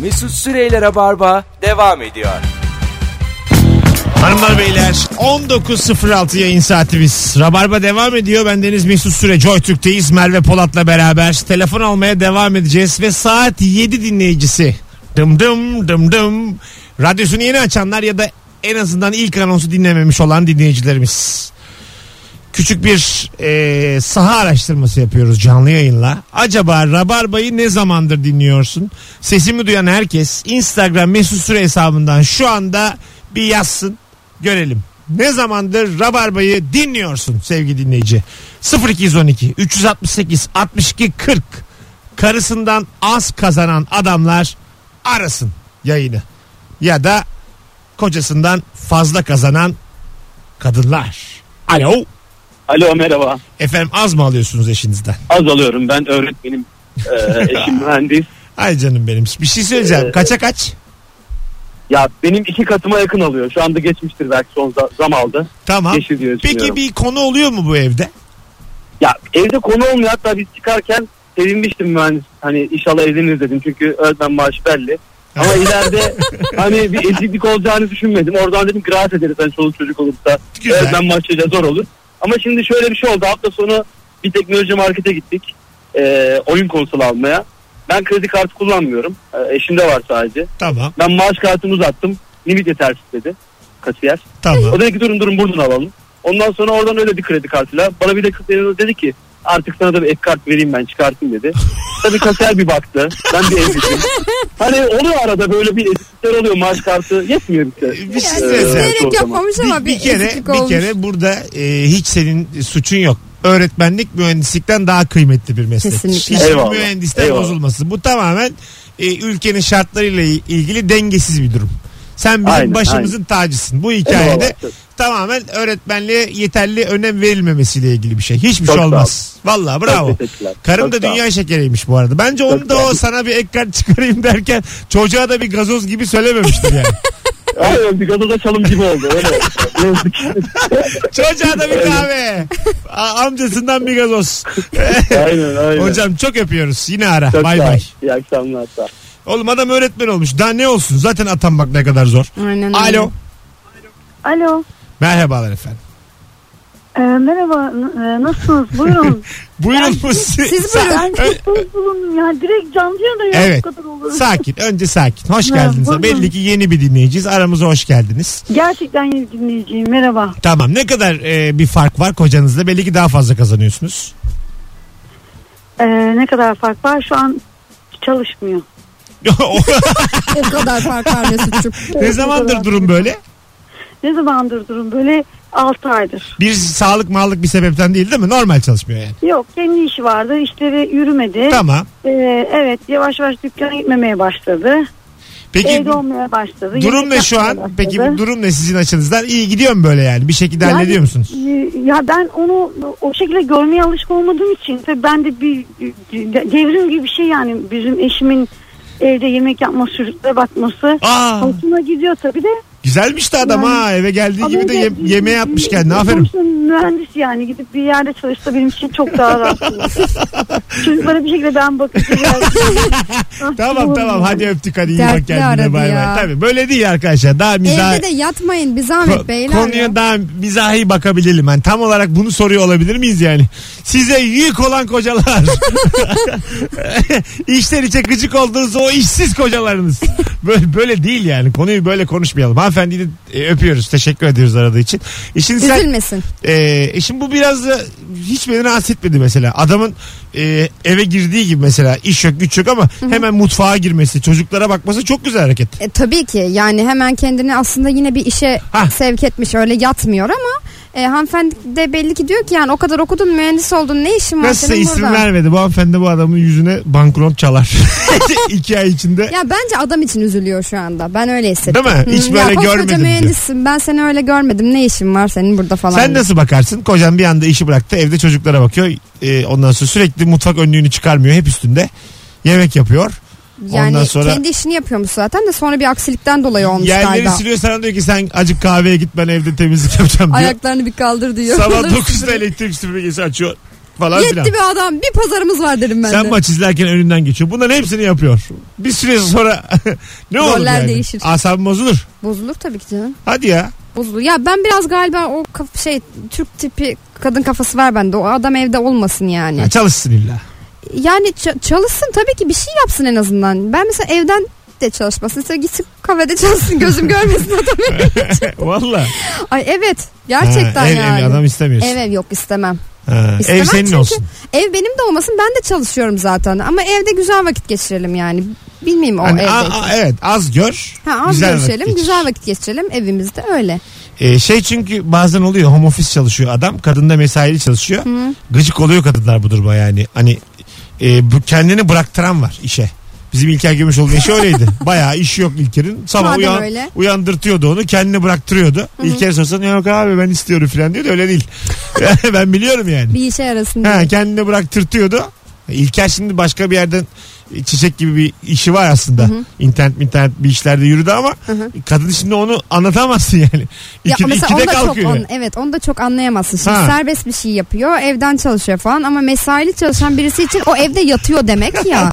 Mesut Süreyler'e barba devam ediyor. Hanımlar beyler 19.06 yayın saatimiz. Rabarba devam ediyor. Ben Deniz Mesut Süre. Joy Türk'teyiz. Merve Polat'la beraber telefon almaya devam edeceğiz. Ve saat 7 dinleyicisi. Dım dım dım dım. Radyosunu yeni açanlar ya da en azından ilk anonsu dinlememiş olan dinleyicilerimiz. Küçük bir e, saha araştırması yapıyoruz canlı yayınla. Acaba Rabarba'yı ne zamandır dinliyorsun? Sesimi duyan herkes Instagram mesut süre hesabından şu anda bir yazsın görelim. Ne zamandır Rabarba'yı dinliyorsun sevgili dinleyici? 0212 368 62 40 karısından az kazanan adamlar arasın yayını. Ya da kocasından fazla kazanan kadınlar. Alo. Alo merhaba. Efendim az mı alıyorsunuz eşinizden? Az alıyorum ben öğretmenim. Ee, eşim mühendis. Ay canım benim. Bir şey söyleyeceğim. Ee, Kaça kaç? Ya benim iki katıma yakın alıyor. Şu anda geçmiştir belki son za- zam aldı. Tamam. Geçir diye Peki düşünüyorum. bir konu oluyor mu bu evde? Ya evde konu olmuyor. Hatta biz çıkarken sevinmiştim mühendis. Hani inşallah evleniriz dedim. Çünkü öğretmen maaşı belli. Ama ileride hani bir eziklik olacağını düşünmedim. Oradan dedim graat ederiz. Hani çoluk çocuk olursa Güzel. öğretmen maaşı da zor olur. Ama şimdi şöyle bir şey oldu. Hafta sonu bir teknoloji markete gittik. Ee, oyun konsolu almaya. Ben kredi kartı kullanmıyorum. Ee, eşimde var sadece. Tamam. Ben maaş kartımı uzattım. Limit yetersiz dedi. Kasiyer. Tamam. O dedi ki durun durun buradan alalım. Ondan sonra oradan öyle bir kredi kartıyla. Bana bir de kız yanında dedi ki artık sana da bir ek kart vereyim ben çıkartayım dedi. Tabii kasiyer bir baktı. Ben bir ezildim. Hani oluyor arada böyle bir eziklikler oluyor maaş kartı yetmiyor bize. Bir şey Ee, söyleyeceğim. çoğu İsteyerek zaman. yapmamış ama Bir, bir, bir kere eksiklik bir olmuş. kere burada e, hiç senin suçun yok. Öğretmenlik mühendislikten daha kıymetli bir meslek. Kesinlikle. Hiçbir Eyvallah. mühendisten Eyvallah. bozulması. Bu tamamen e, ülkenin şartlarıyla il- ilgili dengesiz bir durum. Sen bizim Aynen, başımızın tacısın. Bu hikayede Eyvallah. tamamen öğretmenliğe yeterli önem verilmemesiyle ilgili bir şey. Hiçbir Çok şey sağ ol. olmaz. Vallahi bravo. Çok teşekkürler. Karım Çok da sağ ol. dünya şekeriymiş bu arada. Bence onu Çok da sağ o ol. sana bir ekran çıkarayım derken çocuğa da bir gazoz gibi söylememiştir yani. Aynen bir gazoza çalım gibi oldu. Öyle oldu. Ne yazık ki. çocuğa da bir kahve. A- amcasından bir gazoz. Aynen aynen. Hocam çok öpüyoruz. Yine ara. Çok bay sağ ol. bay. İyi akşamlar. Sağ ol. Oğlum adam öğretmen olmuş. Daha ne olsun? Zaten atanmak ne kadar zor. Aynen öyle. Alo. Alo. Merhabalar efendim. Ee, merhaba. n- e, nasılsınız? Buyurun. Buyurun. siz, Siz buyurun. Nasılsınız bulundum ya. Direkt canlı yayında ya. Evet. Bu kadar olur. Sakin. Önce sakin. Hoş Ha, geldiniz. buyurun. Belli ki yeni bir dinleyiciyiz. Aramıza hoş geldiniz. Gerçekten yeni dinleyiciyim. Merhaba. Tamam. Ne kadar e, bir fark var kocanızla? Belli ki daha fazla kazanıyorsunuz. Ee, ne kadar fark var? Şu an çalışmıyor. O- O kadar fark var Mesut'cum. ne zamandır durum böyle? Ne zamandır durum böyle? 6 aydır. Bir sağlık mağlık bir sebepten değil değil mi? Normal çalışmıyor yani. Yok kendi işi vardı. İşleri yürümedi. Tamam. Ee, evet yavaş yavaş dükkana gitmemeye başladı. Peki Evde olmaya başladı. durum Yemek ne şu yapmaya an? başladı. Peki bu durum ne sizin açınızdan? İyi gidiyor mu böyle yani? Bir şekilde Yani- hallediyor musunuz? Ee, Ya ben onu o şekilde görmeye alışık olmadığım için tabii ben de bir devrim gibi bir şey yani bizim eşimin evde yemek yapma sürüklere bakması Aa, hoşuna gidiyor tabii de. güzelmiş de adam Yani- ha eve geldiği Ama gibi de öyle- ye- yemeğe atmış kendini. Aferin. Sonuçta Mühendis yani gidip bir yerde çalışsa benim için çok daha rahat olur. Çocuklara bir şekilde ben bakacağım. Tamam tamam hadi öptük hadi iyi bak Dertli kendine aradı bay ya. bay. Tabii böyle değil arkadaşlar. Daha mizah Evde de yatmayın bir zahmet Ko- beyler. konuya ya. daha mizahi bakabilelim. Yani tam olarak bunu soruyor olabilir miyiz yani? Size yük olan kocalar. İşten içe gıcık olduğunuz o işsiz kocalarınız. Böyle, böyle değil yani. Konuyu böyle konuşmayalım. Hanımefendiyi de e, öpüyoruz. Teşekkür ediyoruz aradığı için. İşin sen Üzülmesin. e, işin bu biraz da hiç beni rahatsız etmedi mesela. Adamın e, eve girdiği gibi mesela iş yok güç yok ama hemen mutfağa girmesi, çocuklara bakması çok güzel hareket. E, tabii ki yani hemen kendini aslında yine bir işe Ha. sevk etmiş öyle yatmıyor ama e, hanımefendi de belli ki diyor ki yani o kadar okudun mühendis oldun ne işin var Nasılsa senin isim burada? vermedi. Bu hanımefendi bu adamın yüzüne banknot çalar. İki ay içinde. Ya bence adam için üzülüyor şu anda. Ben öyle hissettim. Değil mi? Hiç böyle ya koskoca görmedim diyor. mühendissin. Ben seni öyle görmedim. Ne işin var senin burada falan. Sen diyor. nasıl bakarsın? Kocan bir anda işi bıraktı. Evde çocuklara bakıyor. Ee, ondan sonra sürekli mutfak önlüğünü çıkarmıyor. Hep üstünde. Yemek yapıyor. Yani Ondan sonra- kendi işini yapıyormuş zaten de sonra bir aksilikten dolayı olmuş Yerleri galiba. siliyor sana diyor ki sen acık kahveye git ben evde temizlik yapacağım diyor. Ayaklarını bir kaldır diyor. Sabah 9'da elektrik süpürgesi açıyor. falan filan. Yetti bir adam. Bir pazarımız var dedim ben Sen de. maç izlerken önünden geçiyor. Bunların hepsini yapıyor. Bir süre sonra ne olur Roller yani? değişir. Asabım bozulur. Bozulur tabii ki canım. Hadi ya. Bozulur. Ya ben biraz galiba o kaf- şey Türk tipi kadın kafası var bende. O adam evde olmasın yani. Ha, çalışsın illa. Yani ç- çalışsın tabii ki bir şey yapsın en azından. Ben mesela evden de çalışmasın. Mesela gitsin kafede çalışsın gözüm görmesin adamı. Valla. Ay evet gerçekten Ha, ev, yani. Ev, adam istemiyorsun. Ev ev yok istemem. Ha, ev İstemem senin çünkü- olsun. Ev benim de olmasın ben de çalışıyorum zaten. Ama evde güzel vakit geçirelim yani. Bilmeyeyim o Hani evde. a- a- evet az gör. ha, az güzel vakit görüşelim geçir. güzel vakit geçirelim evimizde öyle. Ee, şey çünkü bazen oluyor home office çalışıyor adam. Kadın da mesaili çalışıyor. Gıcık oluyor kadınlar bu duruma yani. Hani e, bu kendini bıraktıran var işe. Bizim İlker Gümüşoğlu'nun işi öyleydi. Bayağı iş yok İlker'in. Sabah Madem uyan, öyle. uyandırtıyordu onu kendini bıraktırıyordu. İlker sorsan yok abi ben istiyorum falan diyor da öyle değil. ben biliyorum yani. Bir işe yarasın diye. Ha, kendini bıraktırtıyordu. İlker şimdi başka bir yerden çiçek gibi bir işi var aslında. İnternet internet bir işlerde yürüdü ama kadın şimdi onu anlatamazsın yani. Ya İki, mesela ikide onu da kalkıyor. E, çok on, evet onu da çok anlayamazsın. Şimdi Ha. serbest bir şey yapıyor, evden çalışıyor falan ama mesaili çalışan birisi için o evde yatıyor demek ya.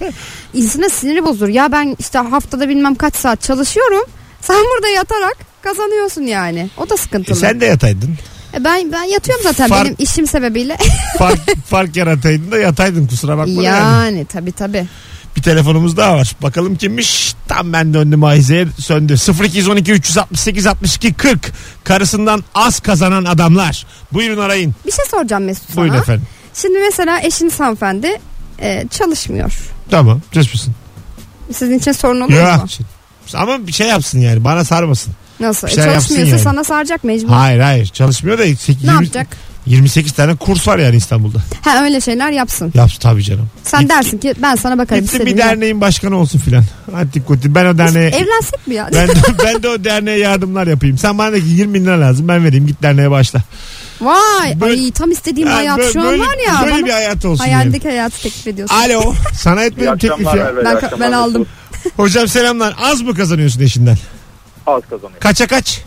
İnsana siniri bozur. Ya ben işte haftada bilmem kaç saat çalışıyorum. Sen burada yatarak kazanıyorsun yani. O da E, sıkıntılı. sen de yataydın. E ben ben yatıyorum zaten Fark- benim işim sebebiyle. Fark, fark yarataydın da yataydın kusura bakma. Yani. yani tabi tabi. Bir telefonumuz daha var. Bakalım kimmiş? Tam ben döndüm Ahize'ye söndü. 0212 368 62 40. Karısından az kazanan adamlar. Buyurun arayın. Bir şey soracağım Mesut sana. Buyurun efendim. Şimdi mesela eşiniz hanımefendi e, çalışmıyor. Tamam. Çözmüşsün. Sizin için sorun olur mu? Yok. Ama bir şey yapsın yani. Bana sarmasın. Nasıl? Bir E, şey yapsın çalışmıyorsa yani. sana saracak mecbur. Hayır hayır çalışmıyor da sek- Ne yirmi- yapacak? 28 tane kurs var yani İstanbul'da. Ha öyle şeyler yapsın. Yaptı tabii canım. Sen Git- dersin ki ben sana bakarım. Gitsin bir istediğini yap. derneğin başkanı olsun filan. Hadi kuti ben o derneğe... Evlensek mi ya? ben, de, ben de o derneğe yardımlar yapayım. Sen bana de ki 20 bin lira lazım ben vereyim git derneğe başla. Vay Böyle- ay tam istediğim Yani hayat böyle- şu an böyle- var ya. Böyle bana bir hayat olsun yani. hayaldeki hayatı teklif ediyorsun. Alo. Sana etmedim teklifi. ya. Ben- ben aldım. Hocam selamlar. Az mı kazanıyorsun eşinden? Az kazanıyor. Kaça kaç?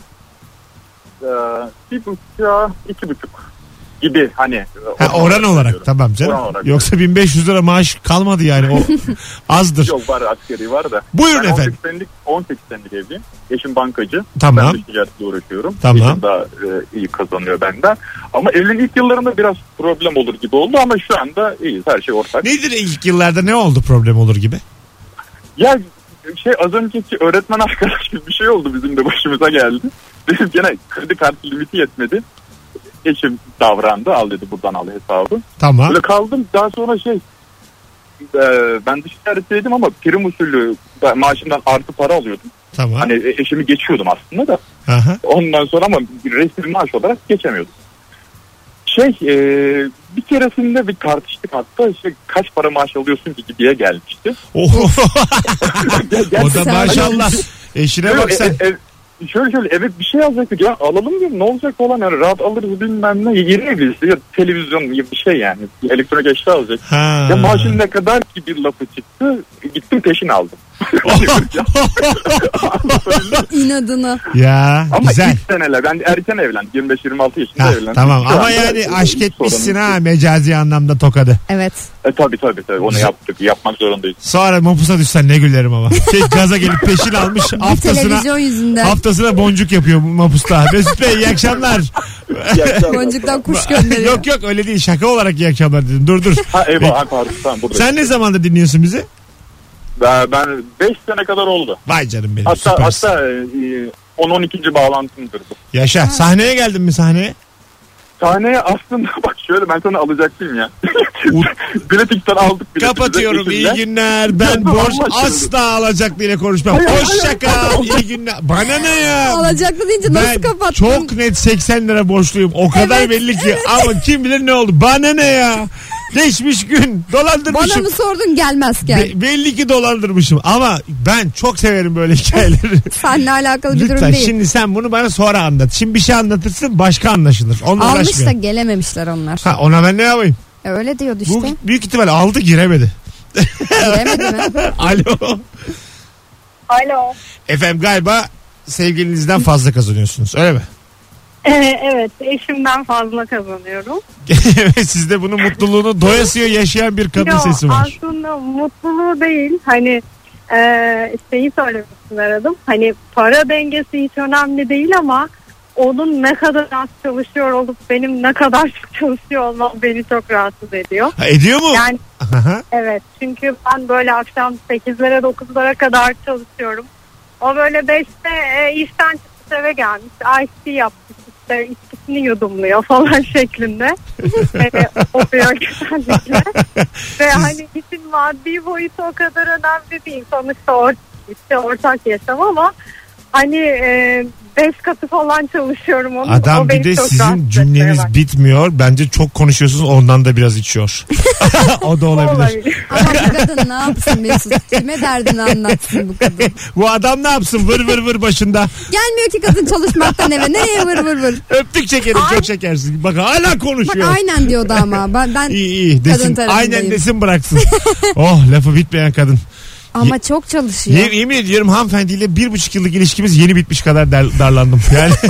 Ee, bir buçuğa iki buçuk gibi hani. Ha, oran olarak yapıyorum. tamam canım. Oran olarak. Yoksa 1500 lira maaş kalmadı yani o azdır. Yok var askeri var da. Buyurun ben efendim. 18 senelik, 18 senelik evliyim. Eşim bankacı. Tamam. Ben de ticaretle uğraşıyorum. Tamam. Eşim daha e, iyi kazanıyor benden. Ama evliliğin ilk yıllarında biraz problem olur gibi oldu ama şu anda iyiyiz. Her şey ortak. Nedir ilk yıllarda ne oldu problem olur gibi? Ya şey az önceki öğretmen arkadaş gibi bir şey oldu bizim de başımıza geldi. Dedim gene kredi kartı limiti yetmedi. Eşim davrandı al dedi buradan al hesabı. Tamam. Öyle kaldım. Daha sonra şey e, ben dış ticaretteydim ama prim usulü ben maaşımdan artı para alıyordum. Tamam. Hani e- eşimi geçiyordum aslında da. Aha. Ondan sonra ama resmi maaş olarak geçemiyordum. Şey e, bir keresinde bir tartıştık hatta işte kaç para maaş alıyorsun ki diye gelmişti. Oho. Oh. o da Sen- maşallah. Eşine bak Şöyle, sen. e- e- şöyle şöyle eve bir şey alacaktık ya alalım diyorum ne olacak falan yani rahat alırız bilmem ne yeni evlisi ya televizyon gibi bir şey yani Bir elektronik eşya alacak. Ha. Ya maaşın ne kadar ki bir lafı çıktı gittim peşin aldım. Oh, İnadına. ya Ama güzel. ilk seneler ben erken evlendim 25-26 yaşında Ha, evlendim. tamam Şu ama anda yani sorun- aşk etmişsin sorun- ha mecazi anlamda tokadı. Evet. E, tabii tabii tabii onu yaptık yapmak zorundayız. Sonra mapusa düşsen ne gülerim ama. Şey, gaza gelip peşin almış Bir televizyon haftasına yüzünden. haftasına boncuk yapıyor bu mapusta. Mesut Bey iyi akşamlar. İyi akşamlar. Boncuktan kuş gönderiyor. yok yok öyle değil şaka olarak iyi akşamlar dedim. Dur dur. Ha eyvah ha, pardon tamam buradayım. Sen ne zamandır dinliyorsun bizi? Ben- Ben 5 sene kadar oldu. Vay canım benim Hatta, süpersin. hatta e, e, 10-12. bağlantımdır bu. Yaşa. Sahneye geldin mi sahneye? Sahneye aslında bak şöyle ben sana alacaktım ya. Biletikten aldık bile. Kapatıyorum. iyi günler. Ben Allah borç aşkına. asla alacak diye konuşmam. Hayır, Hoş hayır, şaka. İyi günler. Bana ne ya? Alacaklı deyince Ben nasıl kapattın? çok net 80 lira borçluyum. O kadar belli ki. Ama kim bilir ne oldu. Bana ne ya? Geçmiş gün. Bana Dolandırmışım. mı sordun gelmez gel. Be- belli ki dolandırmışım. Ama ben çok severim böyle hikayeleri. Seninle alakalı bir durum Lütfen değil. şimdi sen bunu bana sonra anlat. Şimdi bir şey anlatırsın başka anlaşılır. Onunla Almış da uğraşmayalım. gelememişler onlar. Ha, ona ben ne yapayım? E, Öyle diyordu Bu işte. büyük ihtimal aldı giremedi. Gelemedi mi? Alo. Alo. Efendim galiba sevgilinizden fazla kazanıyorsunuz öyle mi? Ee, evet eşimden fazla kazanıyorum. Evet, Sizde bunun mutluluğunu doyasıya yaşayan bir kadın Yo, sesi var. Aslında mutluluğu değil. Hani e, şeyi söylemişsin aradım. Hani para dengesi hiç önemli değil ama onun ne kadar az çalışıyor olup benim ne kadar çok çalışıyor olmam beni çok rahatsız ediyor. Ha, ediyor mu? Yani Aha. evet çünkü ben böyle akşam 8'lere 9'lara kadar çalışıyorum. O böyle 5'te e, işten çıkıp eve gelmiş. IC yapmış işte içkisini yudumluyor falan şeklinde. e, oluyor güzellikle. Ve hani işin maddi boyutu o kadar önemli değil. Sonuçta or işte ortak yaşam ama hani e, beş katı falan çalışıyorum. Onun, Adam bir o beni de çok sizin rahatsız cümleniz etmeye bitmiyor. Bence çok konuşuyorsunuz ondan da biraz içiyor. o da başladı. olabilir. Olabilir. Ama bu kadın ne yapsın Mesut? Kime derdini anlatsın bu kadın? Bu adam ne yapsın vır vır vır başında. Gelmiyor ki kadın çalışmaktan eve. Nereye vır vır vır? Öptük şekerim çok şekersin. Bak hala Bak konuşuyor. aynen diyordu ama. Ben, ben Şey İyi iyi Kadın desin. tarafındayım. Aynen desin bıraksın. oh lafı bitmeyen kadın. ama çok çalışıyor. Ye- yemin ediyorum hanımefendiyle bir buçuk yıllık ilişkimiz yeni bitmiş kadar dar- darlandım. Yani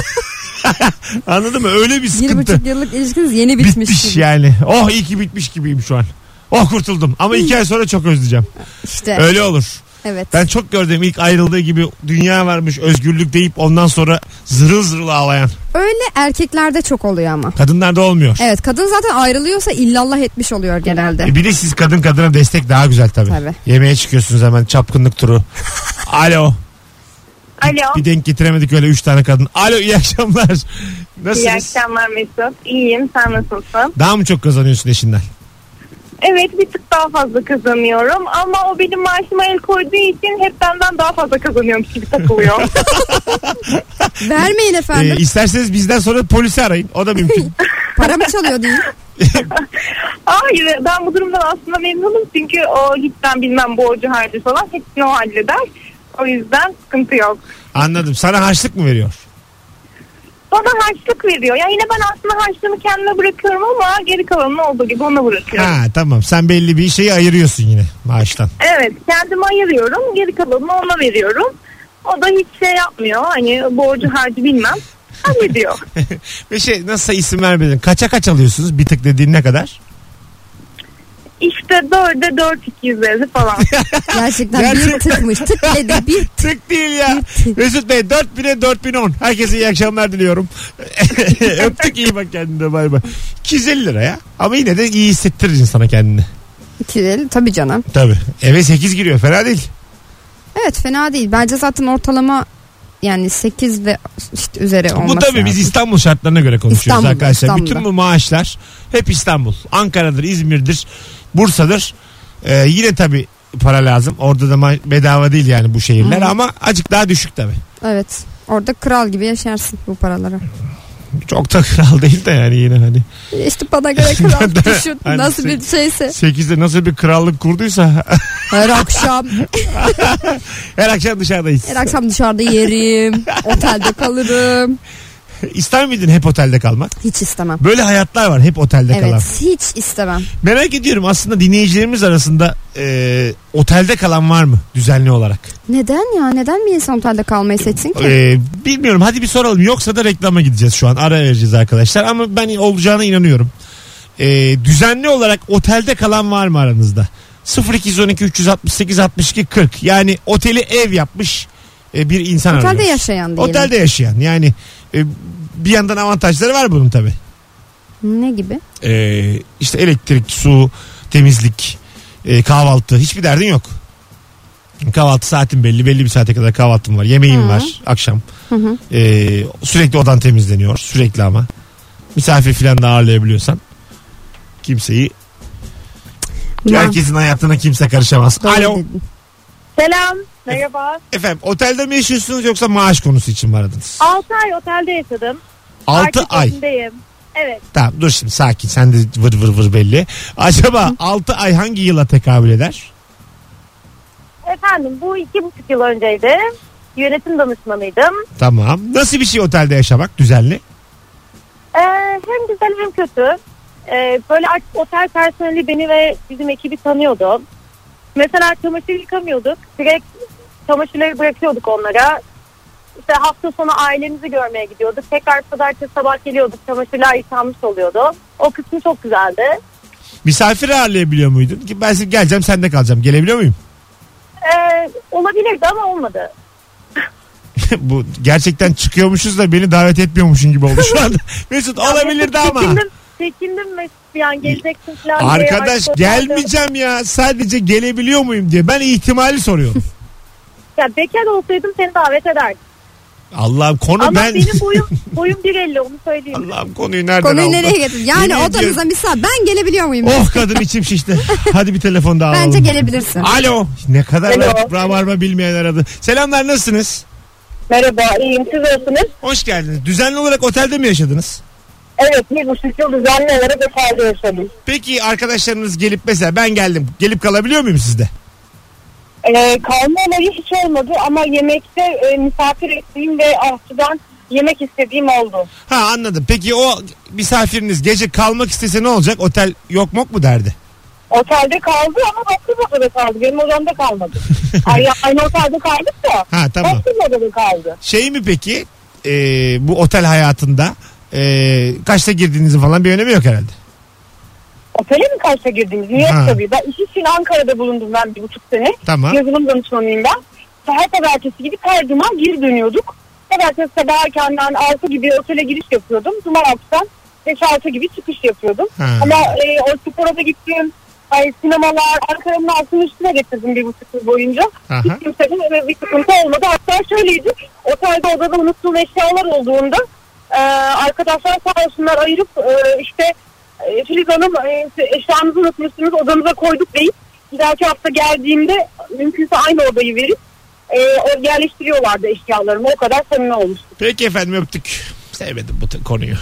anladın mı? Öyle bir Bir sıkıntı. buçuk yıllık ilişkiniz yeni bitmiş, bitmiş. gibi. yani. Oh iyi ki bitmiş gibiyim şu an. Oh kurtuldum ama iki ay sonra çok özleyeceğim. İşte Öyle olur. evet. Ben çok gördüm ilk ayrıldığı gibi dünya varmış özgürlük deyip ondan sonra zırıl zırıl ağlayan. Öyle erkeklerde çok oluyor ama. Kadınlarda olmuyor. Evet kadın zaten ayrılıyorsa illallah etmiş oluyor genelde. E Bir de siz kadın kadına destek daha güzel tabii. Tabii. Yemeğe çıkıyorsunuz hemen çapkınlık turu. Alo. Alo. Bir denk getiremedik öyle üç tane kadın. Alo iyi akşamlar. Nasılsınız? İyi akşamlar Mesut. İyiyim. Sen nasılsın? Daha mı çok kazanıyorsun eşinden? Evet bir tık daha fazla kazanıyorum ama o benim maaşıma el koyduğu için hep benden daha fazla kazanıyormuş gibi takılıyor. E- Vermeyin efendim. Ee, isterseniz bizden sonra polisi arayın. O da mümkün. Para mı çalıyor değil. Hayır ben bu durumdan aslında memnunum çünkü o hiç ben bilmem borcu harcı falan hepsini o halleder. O yüzden sıkıntı yok. Anladım. Sana harçlık mı veriyor? Bana harçlık veriyor. Ya yine ben aslında harçlığımı kendime bırakıyorum ama geri kalanını olduğu gibi ona bırakıyorum. Ha tamam. Sen belli bir şeyi ayırıyorsun yine maaştan. Evet kendime ayırıyorum geri kalanını ona veriyorum. O da hiç şey yapmıyor hani borcu harcı bilmem. Hallediyor. Ve şey nasıl isim vermedin? Kaça kaç alıyorsunuz? Bir tık dediğin ne kadar? İşte dörde dört iki yüzleri falan. Gerçekten Gerçi- bir tıkmış. Tık dedi bir Tık değil ya. Mesut Bey 4000'e 4010. Herkese iyi akşamlar diliyorum. Öptük iyi bak kendine bay bay. 250 lira ya. Ama yine de iyi hissettirir insana kendini. kirel. Tabii canım. Tabii. Eve 8 giriyor fena değil. Evet fena değil. Bence zaten ortalama yani 8 ve işte üzeri olması Bu tabii lazım. biz İstanbul şartlarına göre konuşuyoruz İstanbul'da, arkadaşlar. İstanbul'da. Bütün bu maaşlar hep İstanbul. Ankara'dır, İzmir'dir, Bursa'dır. Ee, yine tabii para lazım. Orada da ma- bedava değil yani bu şehirler ama acık daha düşük tabii. Evet. Orada kral gibi yaşarsın bu paralara. Çok da kral değil de yani yine hani. İşte bana göre kral düşün. Hani Nasıl bir şeyse. 8'de nasıl bir krallık kurduysa Her akşam her akşam dışarıdayız. her akşam dışarıda yerim. Otelde kalırım. İster miydin hep otelde kalmak? Hiç istemem. Böyle hayatlar var hep otelde Evet kalan. hiç istemem. Merak ediyorum aslında dinleyicilerimiz arasında e, otelde kalan var mı düzenli olarak? Neden ya? Neden bir insan otelde kalmayı seçsin ki? Ee, bilmiyorum hadi bir soralım yoksa da reklama gideceğiz şu an ara vereceğiz arkadaşlar ama ben olacağına inanıyorum. Ee, düzenli olarak otelde kalan var mı aranızda? 0212 368 62 40 yani oteli ev yapmış e, bir insan Otelde arıyoruz. yaşayan diyelim. Otelde yaşayan yani e, bir yandan avantajları var bunun tabi. Ne gibi? Ee, işte elektrik, su, temizlik, e, kahvaltı hiçbir derdin yok. Kahvaltı saatin belli. Belli bir saate kadar kahvaltım var. Yemeğim Hı. var akşam. Hı hı. Ee, sürekli odan temizleniyor. Sürekli ama. Misafir falan da ağırlayabiliyorsan. Kimseyi. Herkesin hayatına kimse karışamaz. Doğru Alo. dedin. Selam. Merhaba. Efendim otelde mi yaşıyorsunuz yoksa maaş konusu için mi aradınız? 6 ay otelde yaşadım. 6 Artık ay. evimdeyim. Evet. Tamam dur şimdi sakin. Sen de vır vır vır belli. Acaba 6 ay hangi yıla tekabül eder? Efendim bu iki buçuk yıl önceydi. Yönetim danışmanıydım. Tamam. Nasıl bir şey otelde yaşamak düzenli? Ee, hem güzel hem kötü. Ee, böyle artık otel personeli beni ve bizim ekibi tanıyordu. Mesela çamaşır yıkamıyorduk. Direkt çamaşırları bırakıyorduk onlara. işte hafta sonu ailemizi görmeye gidiyorduk. Tekrar pazartesi sabah geliyorduk. Çamaşırlar yıkanmış oluyordu. O kısmı çok güzeldi. Misafir ağırlayabiliyor muydun? Ki ben şimdi geleceğim sende kalacağım. Gelebiliyor muyum? Ee, olabilirdi ama olmadı. Bu gerçekten çıkıyormuşuz da beni davet etmiyormuşun gibi oldu şu anda. Mesut olabilirdi Mesut, ama. Çekindim, çekindim ve yani geleceksin falan diye. Arkadaş Ay, gelmeyeceğim ya sadece gelebiliyor muyum diye. Ben ihtimali soruyorum. Ya bekar olsaydım seni davet ederdim. Allah'ım konu Ama ben... benim boyum boyum 1.50 onu söyleyeyim. Allah'ım konuyu nereden Konuyu aldın? nereye getirdin? Yemin Yani ediyorum. odanıza misal ben gelebiliyor muyum? Oh kadın içim şişti. Hadi bir telefon daha alalım. Bence gelebilirsin. Alo. Ne kadar Alo. rahat rabarba bilmeyen aradı. Selamlar nasılsınız? Merhaba iyiyim siz nasılsınız? Hoş geldiniz. Düzenli olarak otelde mi yaşadınız? Evet bir buçuk yıl düzenli olarak otelde yaşadım. Peki arkadaşlarınız gelip mesela ben geldim. Gelip kalabiliyor muyum sizde? Ee, kalma olayı hiç olmadı ama yemekte e, misafir ettiğim ve aşçıdan yemek istediğim oldu. Ha anladım. Peki o misafiriniz gece kalmak istese ne olacak? Otel yok mok mu derdi? Otelde kaldı ama başka bir odada kaldı. Benim odamda kalmadı. Ay, aynı otelde kaldık da Ha tamam. başka bir odada kaldı. Şey mi peki e, bu otel hayatında e, kaçta girdiğinizin falan bir önemi yok herhalde. Otele mi kaçta girdiniz? Niye Ha. tabii? Ben iş için Ankara'da bulundum ben bir buçuk sene. Tamam. Yazılım danışmanıyım ben. Her pazartesi gibi her cuma geri dönüyorduk. Pazartesi sabah erkenden 6 gibi otele giriş yapıyordum. Cuma akşam 5-6 gibi çıkış yapıyordum. Ha. Ama e, o spora da gittim. Ay, sinemalar, Ankara'nın altını üstüne getirdim bir buçuk yıl boyunca. Aha. Hiç kimsenin öyle bir sıkıntı olmadı. Hatta şöyleydi. Otelde odada unuttuğum eşyalar olduğunda e, arkadaşlar sağ olsunlar ayırıp e, işte e, Filiz Hanım e, eşyanızı unutmuşsunuz odanıza koyduk deyip bir dahaki hafta geldiğimde mümkünse aynı odayı verip e, o- yerleştiriyorlardı eşyalarımı. O kadar samimi olmuştu. Peki efendim öptük. Sevmedim bu t- konuyu.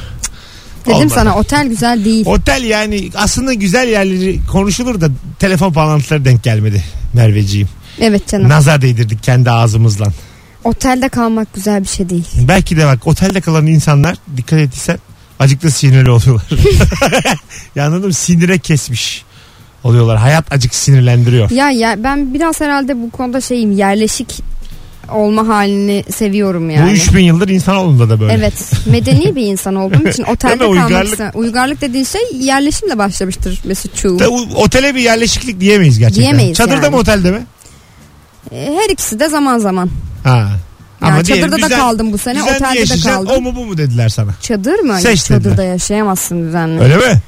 Dedim Olmadı. sana otel güzel değil. Otel yani aslında güzel yerleri konuşulur da telefon bağlantıları denk gelmedi Merveciğim. Evet canım. Nazar değdirdik kendi ağzımızla. Otelde kalmak güzel bir şey değil. Belki de bak otelde kalan insanlar dikkat ettiysen acıkta sinirli oluyorlar. ya anladın mı? Sinire kesmiş oluyorlar. Hayat acık sinirlendiriyor. Ya ya ben biraz herhalde bu konuda şeyim yerleşik olma halini seviyorum yani. Bu 3000 yıldır insanoğlunda da böyle. Evet medeni bir insan olduğum için otelde Değil mi? kalmak Uygarlık. uygarlık. uygarlık dediğin şey yerleşimle başlamıştır Mesutçuğum. Da o- Otele bir yerleşiklik diyemeyiz gerçekten. Diyemeyiz Çadırda yani. mı otelde mi? E, Her ikisi de zaman zaman. Ha. Yani diyelim çadırda da düzen- kaldım bu sene, düzenli otelde de yaşayacaksın. kaldım. O mu bu mu dediler sana? Çadır mı? Seç Çadırda dediler. yaşayamazsın düzenli. Öyle mi?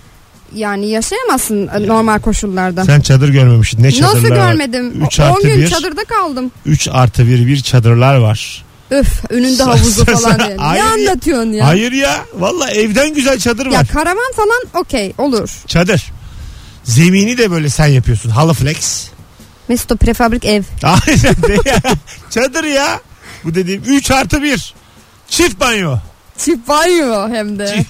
Yani yaşayamazsın e, normal koşullarda. Sen çadır görmemişsin. Ne çadırlar Nasıl var? görmedim? 3 10 artı gün 1. çadırda kaldım. 3 artı 1 bir çadırlar var. Öf önünde Sa- havuzu sa- falan sa- diye. Hayır Ne ya. anlatıyorsun ya? Hayır ya. Valla evden güzel çadır var. Ya karavan falan okey olur. Çadır. Zemini de böyle sen yapıyorsun. Halı flex. Mesut o prefabrik ev. Aynen de ya. Çadır ya. Bu dediğim 3 artı 1. Çift banyo. Çift banyo hem de.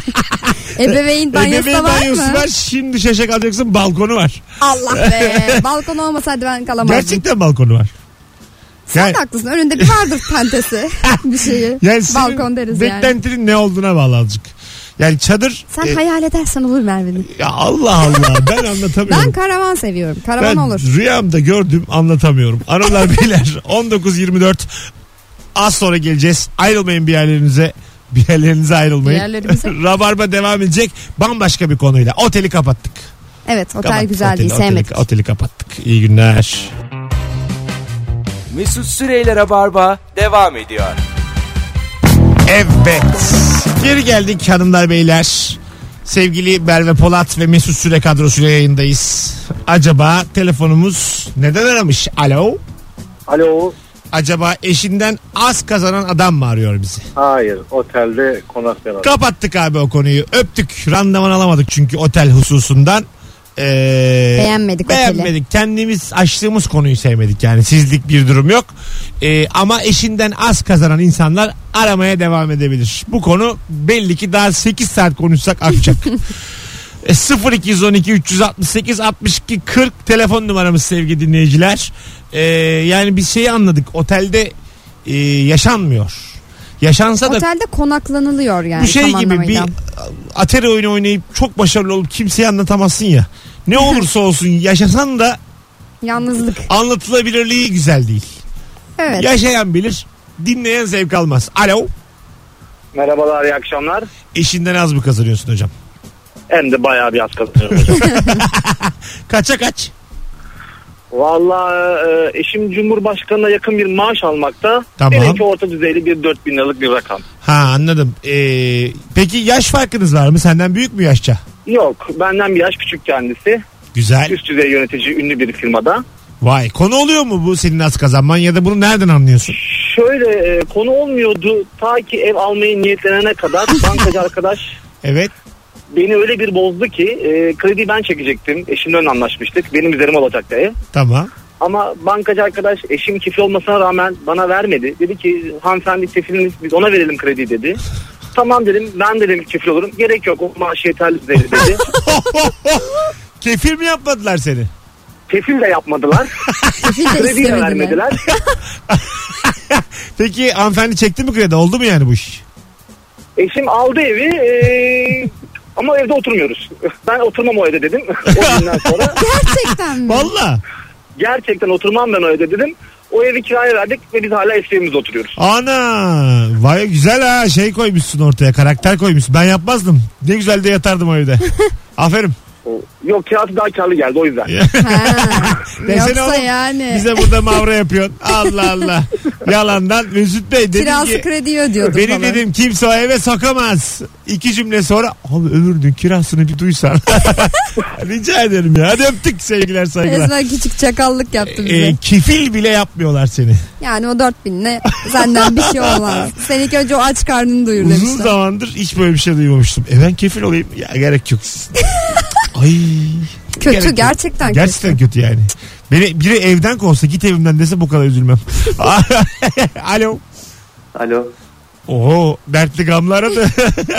Ebeveyn banyosu Ebeveyn da var banyosu mı? var. Şimdi şaşa kalacaksın balkonu var. Allah be. Balkon olmasaydı ben kalamazdım. Gerçekten balkonu var. Sen Yani- de haklısın. Önünde bir vardır pentesi. bir şeyi. Yani senin Balkon deriz yani. beklentinin ne olduğuna bağlı azıcık. Yani çadır Sen e, hayal edersen olur Merve'nin. ya Allah Allah ben anlatamıyorum. Ben karavan seviyorum. Karavan Ben olur. rüyamda gördüm anlatamıyorum. Aralar beyler 19.24 az sonra geleceğiz. Ayrılmayın bir yerlerinize. Bir yerlerinize ayrılmayın. Bir yerlerimize. Rabarba devam edecek bambaşka bir konuyla. Oteli kapattık. Evet otel Kapattık, güzel oteli, değil. Sevmedik. Oteli, oteli kapattık. İyi günler. Mesut Süreyler'e barba devam ediyor. Evet. Geri geldik hanımlar beyler. Sevgili Merve Polat ve Mesut Süre kadrosuyla yayındayız. Acaba telefonumuz neden aramış? Alo. Alo. Acaba eşinden az kazanan adam mı arıyor bizi? Hayır. Otelde konak veren. Kapattık abi o konuyu. Öptük. Randevan alamadık çünkü otel hususundan. Ee, Beğenmedik Beğenmedik. Kendimiz açtığımız konuyu sevmedik yani. Sizlik bir durum yok. Ee, ama eşinden az kazanan insanlar aramaya devam edebilir. Bu konu belli ki daha 8 saat konuşsak akacak. E, 0212 368 62 40 telefon numaramız sevgili dinleyiciler. Ee, yani bir şeyi anladık. Otelde e, yaşanmıyor. Yaşansa da Otelde konaklanılıyor yani. bu şey tam gibi bir anlamıyla. atari oyunu oynayıp çok başarılı olup kimseye anlatamazsın ya. Ne olursa olsun yaşasan da Yalnızlık. anlatılabilirliği güzel değil. Evet. Yaşayan bilir, Dinleyen zevk almaz. Alo. Merhabalar iyi akşamlar. Eşinden az mı kazanıyorsun hocam? Hem de bayağı bir az kazanıyorum hocam. Kaça kaç? Valla e, eşim Cumhurbaşkanı'na yakın bir maaş almakta. Tamam. Benimki orta düzeyli bir 4000 liralık bir rakam. Ha anladım. Ee, peki yaş farkınız var mı? Senden büyük mü yaşça? Yok benden bir yaş küçük kendisi. Güzel. Üst düzey yönetici ünlü bir firmada. Vay. Konu oluyor mu bu senin az kazanman ya da bunu nereden anlıyorsun? Şöyle e, konu olmuyordu ta ki ev almayı niyetlenene kadar bankacı arkadaş Evet. beni öyle bir bozdu ki e, krediyi ben çekecektim. Eşimle ön anlaşmıştık. Benim üzerime olacaktı ev. Tamam. Ama bankacı arkadaş eşim kefil olmasına rağmen bana vermedi. Dedi ki hanımefendi kefiliniz biz ona verelim krediyi dedi. Tamam dedim ben dedim kefil olurum. Gerek yok o maaş yeterli dedi. dedi. Kefir mi yapmadılar seni? kefil de yapmadılar. Kefil de Krediyi de istemediler. vermediler. Peki hanımefendi çekti mi kredi? Oldu mu yani bu iş? Eşim aldı evi e, ama evde oturmuyoruz. Ben oturmam o evde dedim. O günden sonra Gerçekten mi? Valla. gerçekten oturmam ben o evde dedim. O evi kiraya verdik ve biz hala eski evimizde oturuyoruz. Ana. Vay güzel ha. Şey koymuşsun ortaya. Karakter koymuşsun. Ben yapmazdım. Ne güzel de yatardım o evde. Aferin. O- Yok kirası daha karlı geldi o yüzden. Ha. Desene Yoksa oğlum, yani. Bize burada mavra yapıyorsun. Allah Allah. Yalandan Mesut Bey dedi Kirası ki. krediyi ödüyordum Beni falan. dedim kimse o eve sokamaz. İki cümle sonra abi ömrünün kirasını bir duysan. Rica ederim ya. Hadi öptük sevgiler saygılar. Resmen küçük çakallık yaptı bize. Ee, kefil bile yapmıyorlar seni. Yani o 4000 ne senden bir şey olmaz. Sen ilk önce o aç karnını duyur Uzun demişler. zamandır hiç böyle bir şey duymamıştım. E ben kefil olayım. Ya gerek yok. Ay. Kötü gerek yok. gerçekten Gerçekten kötü yani. Beni, biri evden kovsa git evimden dese bu kadar üzülmem. Alo. Alo. Oo dertli gamlı aradı.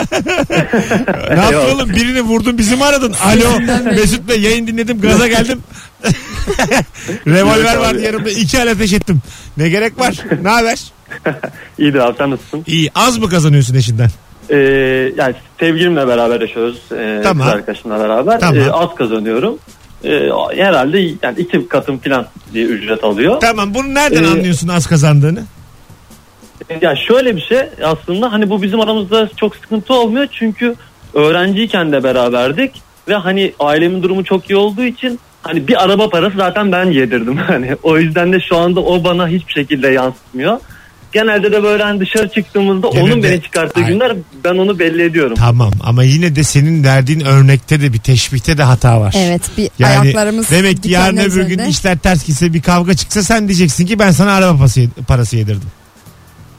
ne yaptın oğlum birini vurdun bizi mi aradın? Alo Mesut Bey yayın dinledim gaza geldim. Revolver Evet abi. vardı yanımda iki el ateş ettim. Ne gerek var? Ne haber? İyidir abi sen nasılsın? İyi az mı kazanıyorsun eşinden? Ee, yani sevgilimle beraber yaşıyoruz. Ee, Tamam. Kız arkadaşımla beraber. Tamam. Ee, az kazanıyorum. Ee, herhalde yani iki katım falan diye ücret alıyor. Tamam bunu nereden Ee, anlıyorsun az kazandığını? Ya şöyle bir şey aslında hani bu bizim aramızda çok sıkıntı olmuyor çünkü öğrenciyken de beraberdik ve hani ailemin durumu çok iyi olduğu için hani bir araba parası zaten ben yedirdim hani o yüzden de şu anda o bana hiçbir şekilde yansıtmıyor. Genelde de böyle hani dışarı çıktığımızda Gene onun de- beni çıkarttığı Ay. günler ben onu belli ediyorum. Tamam ama yine de senin verdiğin örnekte de bir teşbihte de hata var. Evet bir Yani ayaklarımız demek ki yarın dikenler öbür gün üzerinde. işler ters gitse bir kavga çıksa sen diyeceksin ki ben sana araba parası- parası yedirdim.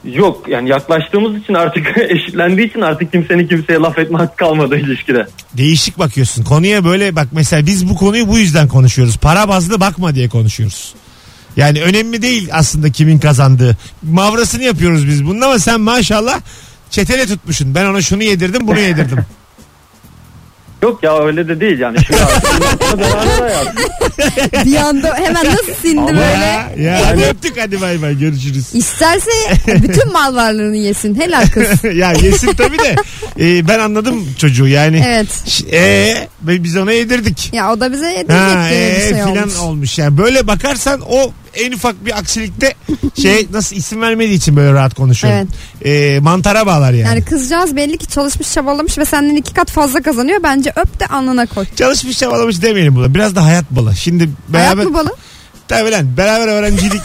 Yok yani yaklaştığımız için artık eşitlendiği için artık kimsenin kimseye laf etme hakkı kalmadı ilişkide. Değişik bakıyorsun. Konuya böyle bak mesela biz bu konuyu bu yüzden konuşuyoruz. Para bazlı bakma diye konuşuyoruz. Yani önemli değil aslında kimin kazandığı. Mavrasını yapıyoruz biz bunun ama sen maşallah çetele tutmuşsun. Ben ona şunu yedirdim bunu yedirdim. Yok ya öyle de değil yani. Şimdi artık beraber hayatım. bir anda hemen nasıl sindi böyle. ya, ya hadi öptük hadi bay bay görüşürüz. İsterse bütün mal varlığını yesin. Helal kız. ya yesin tabii de Ee, ben anladım çocuğu yani. Evet. Ş- Ee, biz ona yedirdik. Ya o da bize yedirecek Ha, gibi bir ee, şey filan olmuş. olmuş. Yani böyle bakarsan o en ufak bir aksilikte şey nasıl isim vermediği için böyle rahat konuşuyorum. Ee, mantara bağlar yani. Yani kızcağız belli ki çalışmış çabalamış ve senden iki kat fazla kazanıyor. Bence öp de alnına koy. Çalışmış çabalamış demeyelim buna. Biraz da hayat balı. Şimdi Hayat beraber mı balı? tabii lan beraber öğrencilik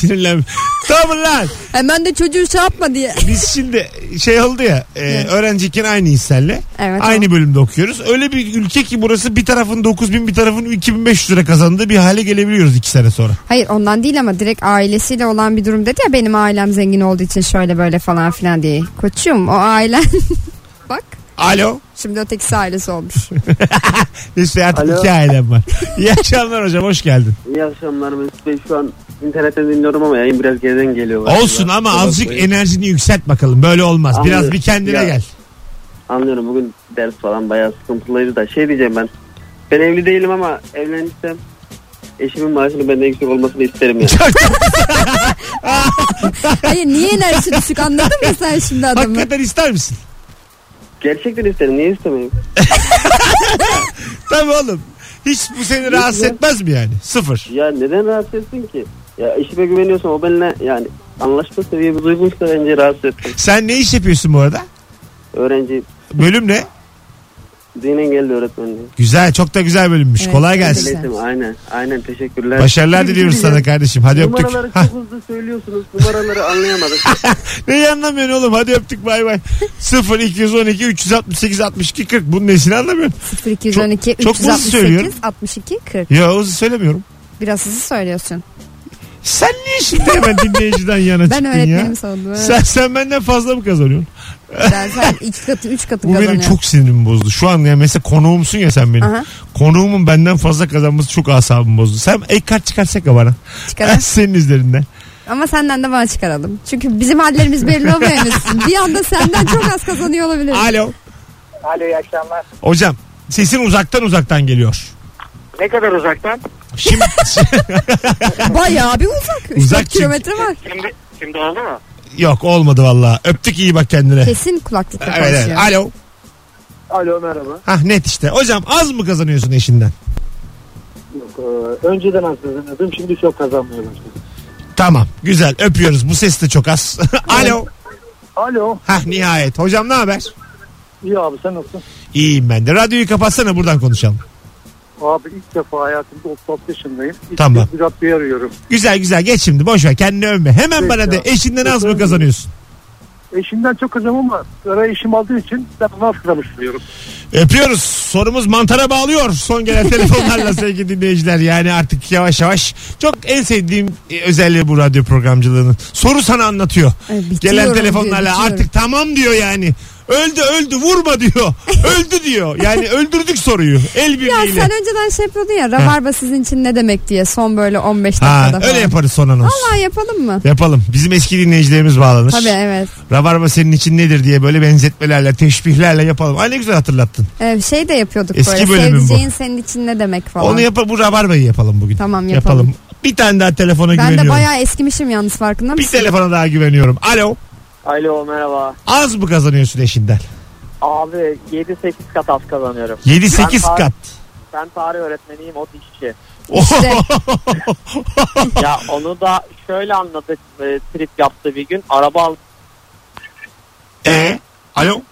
sinirlen. Tamam lan. Hemen de çocuğu şey yapma diye. Biz şimdi şey oldu ya e, Evet. öğrenciyken aynı insanla Evet, aynı bölümde okuyoruz. Öyle bir ülke ki burası bir tarafın 9000 bir tarafın 2500 lira kazandığı bir hale gelebiliyoruz 2 sene sonra. Hayır ondan değil ama direkt ailesiyle olan bir durum dedi ya benim ailem zengin olduğu için şöyle böyle falan filan diye. Koçum o ailen bak Alo. şimdi ötekisi ailesi olmuş. Mesut Bey artık Alo. iki ailem var. İyi akşamlar hocam hoş geldin. İyi akşamlar Mesut Bey. Şu an internetten dinliyorum ama yayın biraz geriden geliyor. galiba. Olsun ama Kusura azıcık bakmayın. enerjini yükselt bakalım. Böyle olmaz. Biraz Anlıyorum. bir kendine Ya. gel. Anlıyorum bugün ders falan bayağı sıkıntılıydı da şey diyeceğim ben. Ben evli değilim ama evlenirsem eşimin maaşının benden yüksek olmasını isterim yani. Hayır niye enerjisi düşük anladın mı sen şimdi adamı? Hakikaten ister misin? Gerçekten isterim. Niye istemeyeyim? Tabii oğlum. Hiç bu seni rahatsız etmez mi yani? Sıfır. Ya neden rahatsız etsin ki? Ya eşime güveniyorsam o benimle yani Anlaşma seviyemiz uygunsa bence rahatsız ettim. Sen ne iş yapıyorsun bu arada? Öğrenci Bölüm ne? din engelli öğretmenliği. Güzel çok da güzel bölünmüş. Evet, Kolay evet. gelsin. Güzel. Neyse aynen. Aynen teşekkürler. Başarılar diliyoruz sana kardeşim. Hadi öptük. Numaraları Hah, çok hızlı söylüyorsunuz. Numaraları anlayamadım. neyi anlamıyorsun oğlum? Hadi öptük bay bay. 0 212 368 62 40. Bunun nesini anlamıyorum? 0212 Çok- çok hızlı 368 söylüyorum. 62 40. Ya o söylemiyorum. Biraz hızlı söylüyorsun. Sen niye şimdi hemen dinleyiciden yana Ben çıktın öğretmenim ya? sandım. Sen, sen benden fazla mı kazanıyorsun? Ben sen iki katı, üç katı Bu benim kazanıyorsun. çok sinirimi bozdu. Şu an ya mesela konuğumsun ya sen benim. Aha. Konuğumun benden fazla kazanması çok asabımı bozdu. Sen ek kart çıkarsak ya bana. Çıkaralım. Senin üzerinden. Ama senden de bana çıkaralım. Çünkü bizim hallerimiz belli olmuyor henüz. Bir anda senden çok az kazanıyor olabilir. Alo. Alo iyi akşamlar. Hocam sesin uzaktan uzaktan geliyor. Ne kadar uzaktan? Şimdi Bayağı bir uzak. Üç Uzak dört kilometre var. Şimdi, şimdi oldu mu? yok olmadı valla. Öptük iyi bak kendine. Kesin kulaklıkla Evet, konuşuyor. evet. Alo. Alo merhaba. Hah net işte. Hocam az mı kazanıyorsun eşinden? Yok, e, önceden az kazanıyordum şimdi çok kazanmaya başladım. Tamam. Güzel. Öpüyoruz. Bu ses de çok az. Alo. Alo Hah nihayet. Hocam ne haber? iyi abi sen nasılsın? İyiyim ben de. Radyoyu kapatsana buradan konuşalım. Abi ilk defa hayatımda 36 yaşındayım. İlk Tamam. kez bir radyoyu arıyorum. Güzel güzel geç şimdi boş ver kendini övme. Hemen Peki bana de ya. eşinden az mı kazanıyorsun? Eşimden çok kazanmam ama ara eşim aldığı için ben ona az kazanmış buluyorum. Öpüyoruz. Sorumuz mantara bağlıyor. Son gelen telefonlarla sevgili dinleyiciler. Yani artık yavaş yavaş. Çok en sevdiğim e, özelliği bu radyo programcılığının. Soru sana anlatıyor. Ay, bitiyorum gelen diyor, telefonlarla bitiyorum. artık tamam diyor yani. Öldü öldü vurma diyor. öldü diyor. Yani öldürdük soruyu. El Ya birliğiyle. sen önceden şey yapıyordun ya rabarba sizin için ne demek diye son böyle 15 dakikada Ha, falan. öyle yaparız son anons. Vallahi yapalım mı? Yapalım. Bizim eski dinleyicilerimiz bağlanır. Tabii evet. Rabarba senin için nedir diye böyle benzetmelerle, teşbihlerle yapalım. Ay ne güzel hatırlattın. Ee, şey de yapıyorduk Eski böyle. bölümün bu. Sevdiceğin senin için ne demek falan. Onu yap bu rabarbayı yapalım bugün. Tamam, yapalım. Bir tane daha telefona ben güveniyorum. de bayağı eskimişim yalnız farkında Bir mısın? telefona daha güveniyorum. Alo. Alo merhaba. Az mı kazanıyorsun eşinden? Abi 7-8 kat az kazanıyorum. 7-8 Ben- kat. Ben tarih öğretmeniyim o dişçi. İşte. ya onu da şöyle anladık e, trip yaptı bir gün. Araba aldı. e? Alo.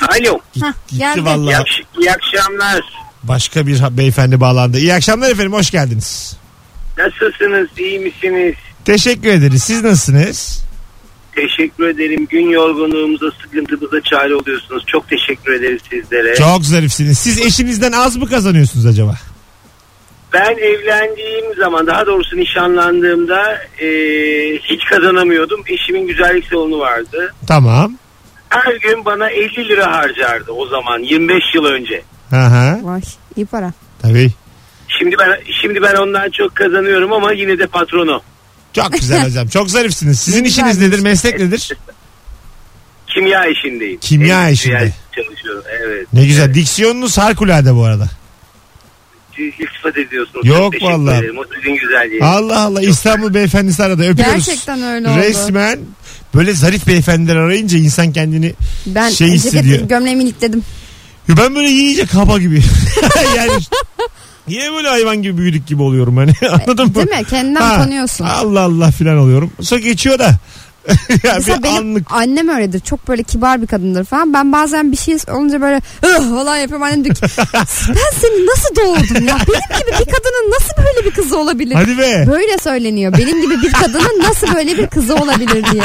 Alo. Hah, Gitti geldi. valla. iyi akşamlar. Başka bir ha- beyefendi bağlandı. İyi akşamlar efendim. Hoş geldiniz. Nasılsınız? iyi misiniz? Teşekkür ederiz. Siz nasılsınız? Teşekkür ederim. Gün yorgunluğumuza, sıkıntımıza çare oluyorsunuz. Çok teşekkür ederiz sizlere. Çok zarifsiniz. Siz eşinizden az mı kazanıyorsunuz acaba? Ben evlendiğim zaman, daha doğrusu nişanlandığımda e, hiç kazanamıyordum. Eşimin güzellik salonu vardı. Tamam. Her gün bana 50 lira harcardı o zaman 25 yıl önce. Aha. Vay iyi para. Tabii. Şimdi ben şimdi ben ondan çok kazanıyorum ama yine de patronu. Çok güzel hocam. Çok zarifsiniz. Sizin Ne şey. işiniz güzelmiş. nedir? Meslek nedir? Kimya işindeyim. Kimya Evet, işinde. çalışıyorum. Evet. Ne güzel. Diksiyonunuz harikulade bu arada. İltifat ediyorsunuz. Yok Çok teşekkür vallahi. ederim. O sizin güzelliğiniz. Allah Allah İstanbul beyefendisi aradı öpüyoruz. Gerçekten öyle oldu. Resmen böyle zarif beyefendiler arayınca insan kendini Ben Şey hissediyor. ceketi gömleğimi ilikledim. Ya ben böyle yiyince kaba gibi. yani niye böyle hayvan gibi büyüdük gibi oluyorum hani anladın mı? Değil mi? Kendinden Ha, tanıyorsun. Allah Allah filan oluyorum. Sonra geçiyor da. ya Mesela bir benim anlık. annem öyledir. Çok böyle kibar bir kadındır falan. Ben bazen bir şey olunca böyle "Ih!" falan yapıyorum. Annem diyor ki ben seni nasıl doğurdum ya? Benim gibi bir kadının nasıl böyle bir kızı olabilir? Hadi be. Böyle söyleniyor. Benim gibi bir kadının nasıl böyle bir kızı olabilir diye.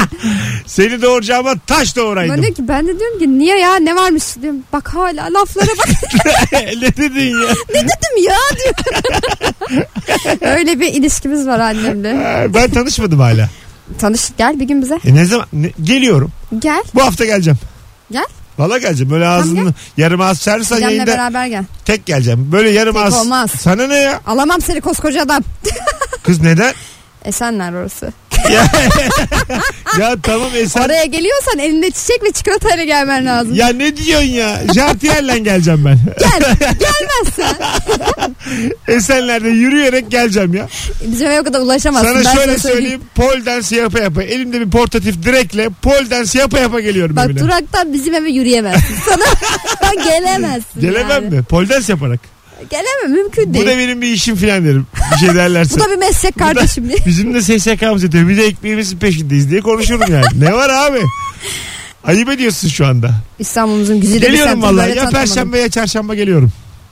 Seni doğuracağıma taş doğuraydım. Ben, diyor ki, ben de diyorum ki niye ya ne varmış diyorum. Bak hala laflara bak ne dedin ya? dedim ya diyor. Öyle bir ilişkimiz var annemle. Ha, Ben tanışmadım hala. Tanış gel bir gün bize. E ne zaman? ne- geliyorum. Gel. Bu hafta geleceğim. Gel. Valla geleceğim. Böyle ağzını yarım ağız çağırırsan Benimle yayında beraber gel. tek geleceğim. Böyle yarım Tek ağız. olmaz. Sana ne ya? Alamam seni koskoca adam. Kız neden? Esenler orası. ya, ya tamam e, Esen. Oraya geliyorsan elinde çiçek ve çikolatayla gelmen lazım. Ya ne diyorsun ya? Jartiyerle geleceğim ben. Gel. Gelmezsen Esenler'de E, yürüyerek geleceğim ya. bize o kadar ulaşamazsın. Sana Ben şöyle söyleyeyim. Pole dance yapa yapa. Elimde bir portatif direkle pole dance yapa yapa geliyorum Bak evine. duraktan bizim eve yürüyemezsin. Sana gelemezsin. Gelemem yani. mi? Pole dance yaparak. Gelemem mümkün Bu değil. da benim bir işim filan derim. Bir şey derlerse. Bu da bir meslek kardeşim diye. Bizim de SSK'mız yetiyor. Bir de ekmeğimizin peşindeyiz diye konuşurum yani. ne var abi? Ayıp ediyorsun şu anda. İstanbul'umuzun güzide bir geliyorum semtini vallahi. böyle Ya tanıtamadım. perşembe ya çarşamba geliyorum.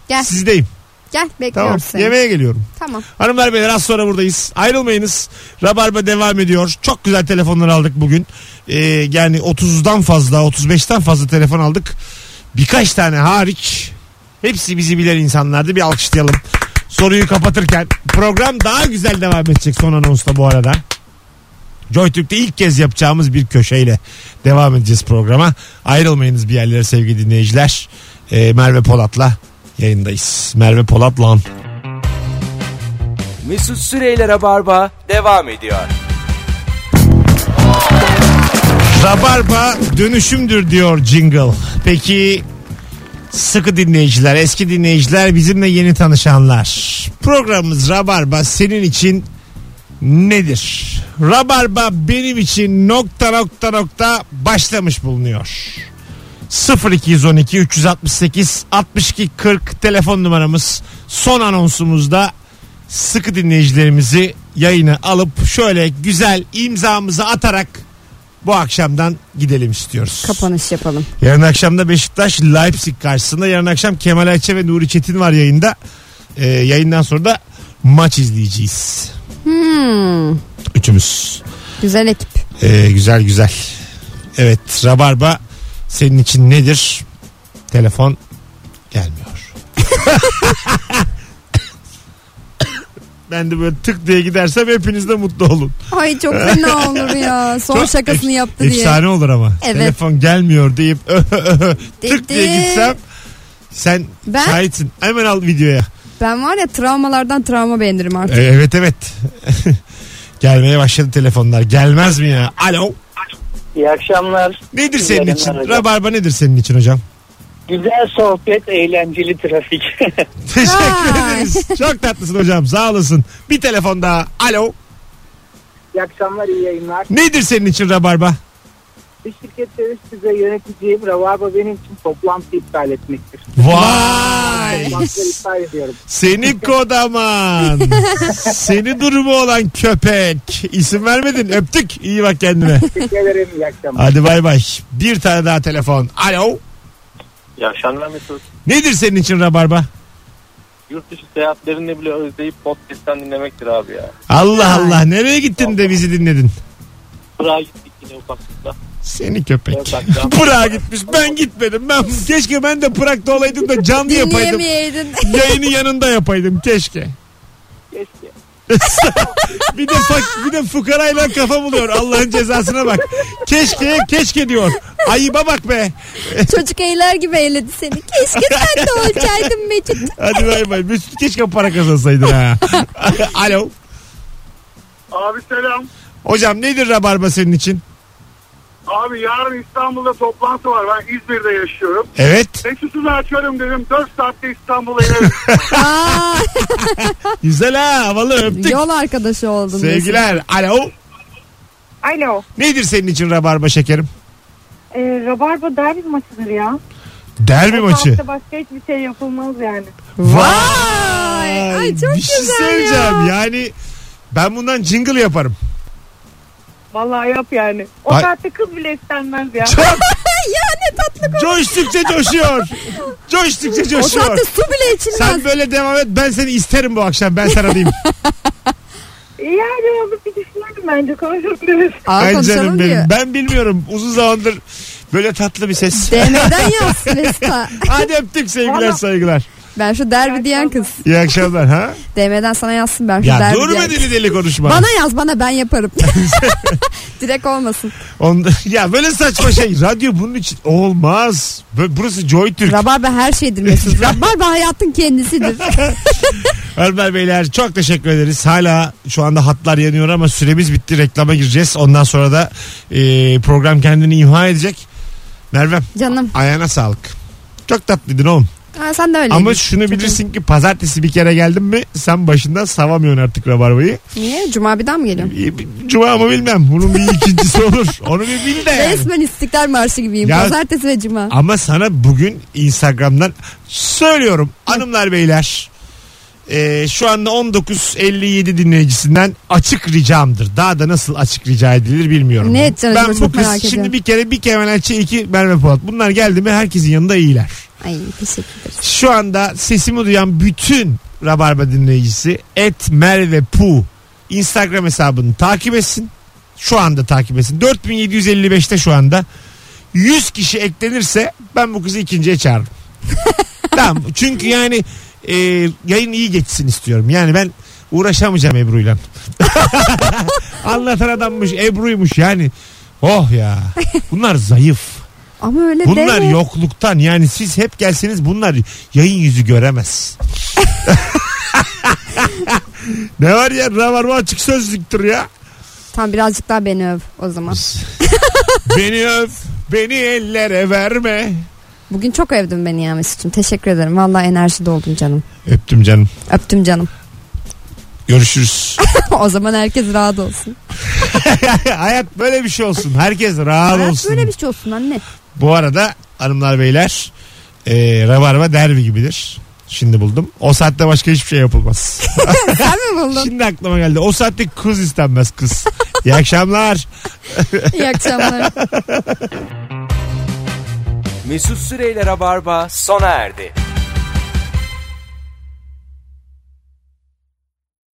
Gel Sizdeyim. gel bekliyoruz Tamam. seni. Yemeğe geliyorum. Tamam. Hanımlar beyler az sonra buradayız. Ayrılmayınız. Rabarba devam ediyor. Çok güzel telefonlar aldık bugün. Ee, yani 30'dan fazla 35'ten fazla telefon aldık. Birkaç tane hariç hepsi bizi bilen insanlardı. Bir alkışlayalım. Soruyu kapatırken program daha güzel devam edecek son anonsla bu arada. JoyTürk'te ilk kez yapacağımız bir köşeyle devam edeceğiz programa. Ayrılmayınız bir yerlere sevgili dinleyiciler. Ee, Merve Polat'la yayındayız. Merve Polat'la. Mesut Süreyler'e barba devam ediyor. Rabarba dönüşümdür diyor Jingle. Peki sıkı dinleyiciler, eski dinleyiciler, bizimle yeni tanışanlar. Programımız Rabarba senin için nedir? Rabarba benim için nokta nokta nokta başlamış bulunuyor. 0212 368 62 40 telefon numaramız. Son anonsumuzda sıkı dinleyicilerimizi yayına alıp şöyle güzel imzamızı atarak bu akşamdan gidelim istiyoruz. Kapanış yapalım. Yarın akşam da Beşiktaş Leipzig karşısında. Yarın akşam Kemal Ayça ve Nuri Çetin var yayında. Ee, yayından sonra da maç izleyeceğiz. Hmm, Üçümüz. güzel ekip. Ee, güzel güzel. Evet Rabarba senin için nedir? Telefon gelmiyor. ben de böyle tık diye gidersem hepiniz de mutlu olun. Ay çok fena olur ya. Son Çok şakasını ef- yaptı diye. Efsane olur ama. Evet. Telefon gelmiyor deyip tık diye Dedi. gitsem sen Ben- şahitsin. Hemen al videoya. Ben var ya travmalardan travma beğenirim artık. Ee, evet evet. Gelmeye başladı telefonlar. Gelmez mi ya? Alo. İyi akşamlar. Nedir İyi senin yayınlar için? hocam. Rabarba nedir senin için hocam? Güzel sohbet, eğlenceli trafik. Teşekkür Vay. ederiz. Çok tatlısın hocam. Sağ olasın. Bir telefon daha. Alo. İyi akşamlar, iyi yayınlar. Nedir senin için Rabarba? Bir şirkette üst düzey yöneticiyim. Rabarba benim için toplantı iptal etmektir. Vay. Toplantıları iptal ediyorum. Seni kodaman. Seni durumu olan köpek. İsim vermedin. Öptük. İyi bak kendine. Teşekkür ederim, iyi akşamlar. Hadi bay bay. Bir tane daha telefon. Alo. İyi akşamlar Mesut. Nedir senin için Rabarba? Yurt dışı seyahatlerini bile özleyip podcast'ten dinlemektir abi ya. Allah Allah. Nereye gittin de bizi dinledin? Bırak gittik yine ufaklıkla. Seni köpek. Yok, yok. Pırak'a gitmiş. Ben gitmedim. Ben keşke ben de Pırak'ta olaydım da canlı yapaydım. Dinleyemeyeydin. Yayını yanında yapaydım keşke. Keşke. bir de fak, bir de fukarayla kafa buluyor. Allah'ın cezasına bak. Keşke keşke diyor. Ayıba bak be. Çocuk eyler gibi eyledi seni. Keşke sen de olacaktın Mecit. Hadi bay bay. Mesut keşke para kazansaydın ha. Alo. Abi selam. Hocam nedir rabarba senin için? Abi yarın İstanbul'da toplantı var. Ben İzmir'de yaşıyorum. Evet. Mesut'u açarım dedim. 4 saatte İstanbul'a inerim. Aa, Güzel ha. Havalı öptük. yol arkadaşı oldun. Mesut. Sevgiler. Alo. Alo. Nedir senin için rabarba şekerim? E, Rabarba derbi maçıdır ya. Derbi Bu maçı. hafta başka hiçbir şey yapılmaz yani. Vay. Ay, çok bir şey güzel söyleyeceğim. ya. Yani ben bundan jingle yaparım. Vallahi yap yani. O Ay- saatte kız bile istenmez ya. Çok. ya ne tatlı Coştukça coşuyor. Coştukça O coşuyor. saatte su bile Sen içilmez. böyle devam et. Ben seni isterim bu akşam. Ben sana diyeyim. Yani onu bir düşünelim bence konuşuruz. Aa, Ay konuşalım canım diyor. benim. Ben bilmiyorum. Uzun zamandır böyle tatlı bir ses. DM'den yaz Mesut'a. Hadi öptük sevgiler Valla. saygılar. Ben şu derbi diyen kız. İyi akşamlar ha. DM'den sana yazsın ben şu Ya derbi dur diyen be deli deli konuşma. Bana yaz bana ben yaparım. Direkt olmasın. Onda, ya böyle saçma şey. Radyo bunun için olmaz. Bö- Burası Joy Türk. Rabarba her şeydir Mesut. Rabarba hayatın kendisidir. Ömer Beyler çok teşekkür ederiz. Hala şu anda hatlar yanıyor ama süremiz bitti. Reklama gireceğiz. Ondan sonra da e, program kendini imha edecek. Mervem Canım ayağına sağlık. Çok tatlıydın oğlum. Ha, sen de öyle. Ama şunu bilirsin ki pazartesi bir kere geldim mi sen başından savamıyorsun artık rabarbayı. E, Niye? Cuma bir daha mı geliyorum? Cuma mı bilmem. Bunun bir ikincisi olur. Onu bir bil de. yani. Resmen istiklal marşı gibiyim. Ya- Pazartesi ve cuma. Ama sana bugün Instagram'dan söylüyorum hanımlar beyler. Ee, şu anda 19.57 dinleyicisinden açık ricamdır. Daha da nasıl açık rica edilir bilmiyorum. Ne edeceğiz acaba? Ben bu Çok kız merak şimdi ediyorum. bir kere bir Kemal Ayça, iki Merve Polat. Bunlar geldi mi herkesin yanında iyiler. Ay teşekkür ederiz. Şu anda sesimi duyan bütün Rabarba dinleyicisi et Merve Pu Instagram hesabını takip etsin. Şu anda takip etsin. 4755'te şu anda. 100 kişi eklenirse ben bu kızı ikinciye çağırırım. tamam. Çünkü yani e, yayın iyi geçsin istiyorum. Yani ben uğraşamayacağım Ebru'yla. Anlatan adammış Ebru'ymuş yani. Oh ya. Bunlar zayıf. Ama öyle Bunlar deme. yokluktan yani siz hep gelseniz bunlar yayın yüzü göremez. ne var ya rabarba açık sözlüktür ya. Tam birazcık daha beni öv o zaman. beni öv beni ellere verme. Bugün çok övdün beni ya Mesut'cum. Teşekkür ederim. Vallahi enerji doldum canım. Öptüm canım. Öptüm canım. Görüşürüz. o zaman herkes rahat olsun. Hayat böyle bir şey olsun. Herkes rahat Hayat olsun. böyle bir şey olsun anne. Bu arada hanımlar beyler e, rabarba derbi gibidir. Şimdi buldum. O saatte başka hiçbir şey yapılmaz. Sen mi buldun? Şimdi aklıma geldi. O saatte kız istenmez kız. İyi akşamlar. İyi akşamlar. Mesut Süreyler'e barba sona erdi.